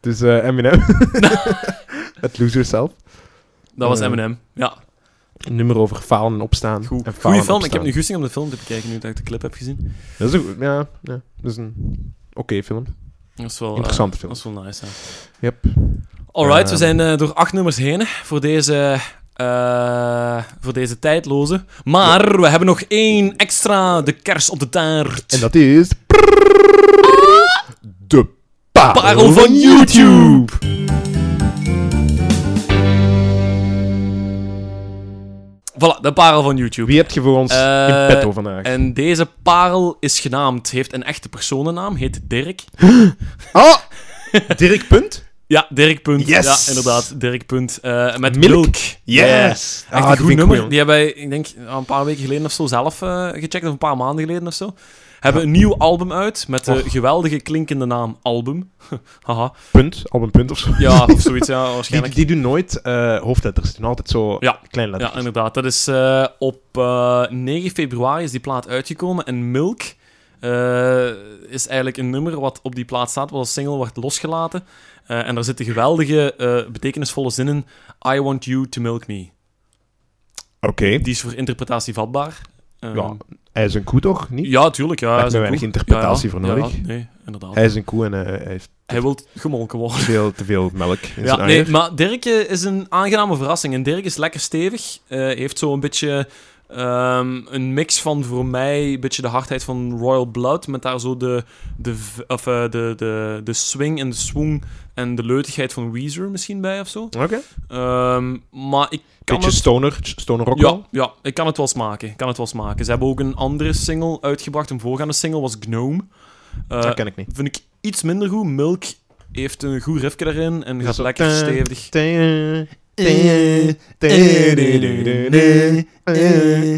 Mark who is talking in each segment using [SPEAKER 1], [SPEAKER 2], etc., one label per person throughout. [SPEAKER 1] Dus eh, Eminem. Met Lose Yourself.
[SPEAKER 2] Dat was
[SPEAKER 1] Eh,
[SPEAKER 2] Eminem. Ja,
[SPEAKER 1] Een nummer over falen en opstaan.
[SPEAKER 2] goed.
[SPEAKER 1] En falen
[SPEAKER 2] Goeie
[SPEAKER 1] en
[SPEAKER 2] film. Ik
[SPEAKER 1] opstaan.
[SPEAKER 2] heb nu goesting om de film te bekijken, nu dat ik de clip heb gezien.
[SPEAKER 1] Dat is een goed... Ja, ja. dat is een oké film.
[SPEAKER 2] Dat is wel... eh,
[SPEAKER 1] Interessante film.
[SPEAKER 2] Dat is wel nice, hè.
[SPEAKER 1] Yep.
[SPEAKER 2] Alright, we
[SPEAKER 1] Ehm.
[SPEAKER 2] zijn eh, door acht nummers heen voor deze, eh, voor deze tijdloze. Maar we hebben nog één extra, de kers op de taart.
[SPEAKER 1] En dat is... Ah! De parel,
[SPEAKER 2] Parel van YouTube. Voilà, de parel van YouTube.
[SPEAKER 1] Wie heb je voor ons
[SPEAKER 2] Eh,
[SPEAKER 1] in petto vandaag?
[SPEAKER 2] En deze parel is genaamd, heeft een echte personennaam, heet Dirk.
[SPEAKER 1] Ah! Dirk Punt?
[SPEAKER 2] Ja, Dirk Punt.
[SPEAKER 1] Yes.
[SPEAKER 2] Ja, inderdaad, Dirk Punt. Eh, met
[SPEAKER 1] Milk.
[SPEAKER 2] Milk. Ja.
[SPEAKER 1] Yes! Ah,
[SPEAKER 2] Echt een
[SPEAKER 1] die
[SPEAKER 2] goed
[SPEAKER 1] vind ik
[SPEAKER 2] nummer.
[SPEAKER 1] cool.
[SPEAKER 2] Die hebben wij, ik denk, een paar weken geleden of zo zelf eh, gecheckt. Of een paar maanden geleden of zo. Hebben een nieuw album uit met de
[SPEAKER 1] Och.
[SPEAKER 2] geweldige klinkende naam Album. Haha.
[SPEAKER 1] Punt, al een punt of zo.
[SPEAKER 2] Ja, of zoiets, ja,
[SPEAKER 1] Die,
[SPEAKER 2] waarschijnlijk.
[SPEAKER 1] die doen nooit eh, hoofdletters, die doen altijd zo
[SPEAKER 2] Ja.
[SPEAKER 1] kleine
[SPEAKER 2] Ja,
[SPEAKER 1] letters.
[SPEAKER 2] inderdaad. Dat is eh, op eh, 9 februari is die plaat uitgekomen. En Milk eh, is eigenlijk een nummer wat op die plaat staat, wat als single wordt losgelaten. Eh, en daar zitten geweldige, eh, betekenisvolle zinnen. I want you to milk me.
[SPEAKER 1] Oké,
[SPEAKER 2] Die is voor interpretatie vatbaar. Eh,
[SPEAKER 1] Ja, hij is een koe toch? Niet?
[SPEAKER 2] Ja, tuurlijk. Ja,
[SPEAKER 1] Daar
[SPEAKER 2] hij
[SPEAKER 1] heb
[SPEAKER 2] is
[SPEAKER 1] je
[SPEAKER 2] een
[SPEAKER 1] weinig
[SPEAKER 2] koe.
[SPEAKER 1] interpretatie voor nodig.
[SPEAKER 2] ja, nee, inderdaad.
[SPEAKER 1] Hij
[SPEAKER 2] Hij,
[SPEAKER 1] is een koe en eh, hij heeft
[SPEAKER 2] wil gemolken worden.
[SPEAKER 1] veel, te veel melk in
[SPEAKER 2] Ja,
[SPEAKER 1] zijn
[SPEAKER 2] nee,
[SPEAKER 1] eieren.
[SPEAKER 2] maar Dirk eh, is een aangename verrassing. En Dirk is lekker stevig. eh, heeft zo een beetje ehm, een mix van voor mij een beetje de hardheid van Royal Blood. Met daar zo de, de, v- of, eh, de, de, de swing en de swoon en de leutigheid van Weezer misschien bij of zo.
[SPEAKER 1] Oké,
[SPEAKER 2] Ehm, maar ik kan
[SPEAKER 1] beetje
[SPEAKER 2] het...
[SPEAKER 1] stoner, stoner rock
[SPEAKER 2] Ja,
[SPEAKER 1] wel.
[SPEAKER 2] ja, ik kan het wel smaken. Ik kan het wel smaken. Ze hebben ook een andere single uitgebracht. Een voorgaande single was Gnome. Eh,
[SPEAKER 1] Dat ken ik niet.
[SPEAKER 2] vind ik iets minder goed. Milk heeft een goed riffje daarin en gaat
[SPEAKER 1] zo-
[SPEAKER 2] lekker
[SPEAKER 1] Tain,
[SPEAKER 2] stevig.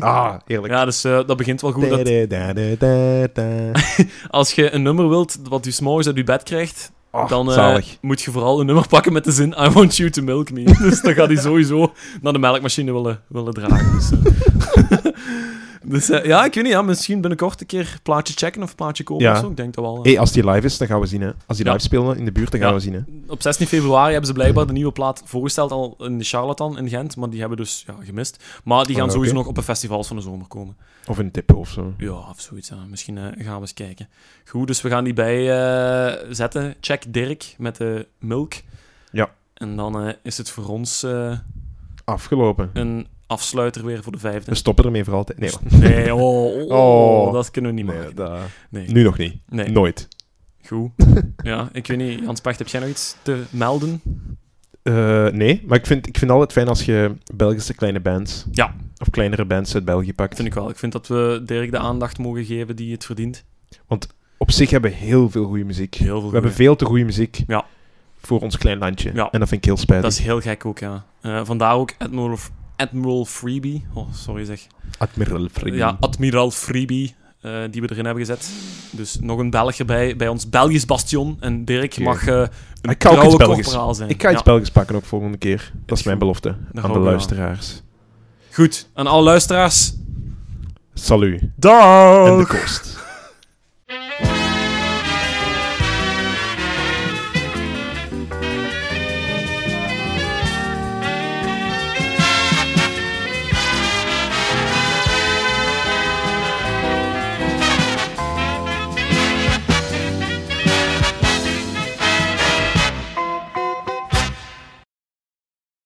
[SPEAKER 1] Ah, heerlijk.
[SPEAKER 2] Ja, dus eh, dat begint wel goed. Dat als je een nummer wilt wat je s'morgens uit je bed krijgt,
[SPEAKER 1] Ah,
[SPEAKER 2] dan eh,
[SPEAKER 1] zalig.
[SPEAKER 2] moet je vooral een nummer pakken met de zin I want you to milk me. dus dan gaat hij sowieso naar de melkmachine willen, willen dragen. Dus, eh. dus eh, ja, ik weet niet. Ja, misschien binnenkort een keer plaatje checken of plaatje komen
[SPEAKER 1] Ja.
[SPEAKER 2] of zo. Ik denk dat wel. eh.
[SPEAKER 1] Hey, als die live is, dan gaan we zien. Hè. Als die
[SPEAKER 2] Ja.
[SPEAKER 1] live spelen in de buurt, dan gaan
[SPEAKER 2] Ja.
[SPEAKER 1] we zien. Hè.
[SPEAKER 2] Op 16 februari hebben ze blijkbaar de nieuwe plaat voorgesteld al in de Charlatan in Gent, maar die hebben dus ja, gemist. Maar die gaan
[SPEAKER 1] Ah, oké.
[SPEAKER 2] sowieso nog op de festivals van de zomer komen.
[SPEAKER 1] Of in tippen of zo.
[SPEAKER 2] Ja, of zoiets. ja. Misschien eh, gaan we eens kijken. Goed, dus we gaan die bij eh, zetten. Check Dirk met de milk.
[SPEAKER 1] Ja.
[SPEAKER 2] En dan eh, is het voor ons eh,
[SPEAKER 1] Afgelopen.
[SPEAKER 2] een afsluiter weer voor de vijfde.
[SPEAKER 1] We stoppen ermee voor altijd. Nee,
[SPEAKER 2] Nee, oh, oh,
[SPEAKER 1] Dus- Oh.
[SPEAKER 2] dat kunnen we niet
[SPEAKER 1] nee
[SPEAKER 2] maken.
[SPEAKER 1] dat-
[SPEAKER 2] Nee.
[SPEAKER 1] nu nog niet.
[SPEAKER 2] Nee,
[SPEAKER 1] Nooit.
[SPEAKER 2] goed. Ja, ik weet niet. Hans Pacht, heb jij nog iets te melden?
[SPEAKER 1] Eh, nee, maar ik vind, ik vind altijd fijn als je Belgische kleine bands.
[SPEAKER 2] Ja.
[SPEAKER 1] Of kleinere bands uit België pakt.
[SPEAKER 2] Vind ik wel. Ik vind dat we Dirk de aandacht mogen geven die het verdient.
[SPEAKER 1] Op zich hebben we heel veel goede muziek.
[SPEAKER 2] Heel veel
[SPEAKER 1] we
[SPEAKER 2] goeie.
[SPEAKER 1] hebben veel te goede muziek.
[SPEAKER 2] Ja.
[SPEAKER 1] Voor ons klein landje.
[SPEAKER 2] Ja.
[SPEAKER 1] En dat vind ik heel spijtig.
[SPEAKER 2] Dat is heel gek ook, ja. Eh, vandaar ook Admiral, Admiral Freebie. Oh, sorry zeg.
[SPEAKER 1] Admiral Freeman.
[SPEAKER 2] Ja, Admiraal Freebie, eh, die we erin hebben gezet. Dus nog een Belg erbij, bij ons Belgisch bastion. En Dirk
[SPEAKER 1] Oké.
[SPEAKER 2] mag eh, een
[SPEAKER 1] Ik ga ook iets
[SPEAKER 2] trouwe
[SPEAKER 1] Belgisch.
[SPEAKER 2] corporaal zijn.
[SPEAKER 1] Ik ga iets
[SPEAKER 2] Ja.
[SPEAKER 1] Belgisch pakken ook volgende keer. Dat is
[SPEAKER 2] is
[SPEAKER 1] mijn
[SPEAKER 2] goed.
[SPEAKER 1] belofte aan
[SPEAKER 2] houden
[SPEAKER 1] de
[SPEAKER 2] we aan.
[SPEAKER 1] luisteraars.
[SPEAKER 2] Goed, aan alle luisteraars.
[SPEAKER 1] Salut.
[SPEAKER 2] Dag!
[SPEAKER 1] En de kost.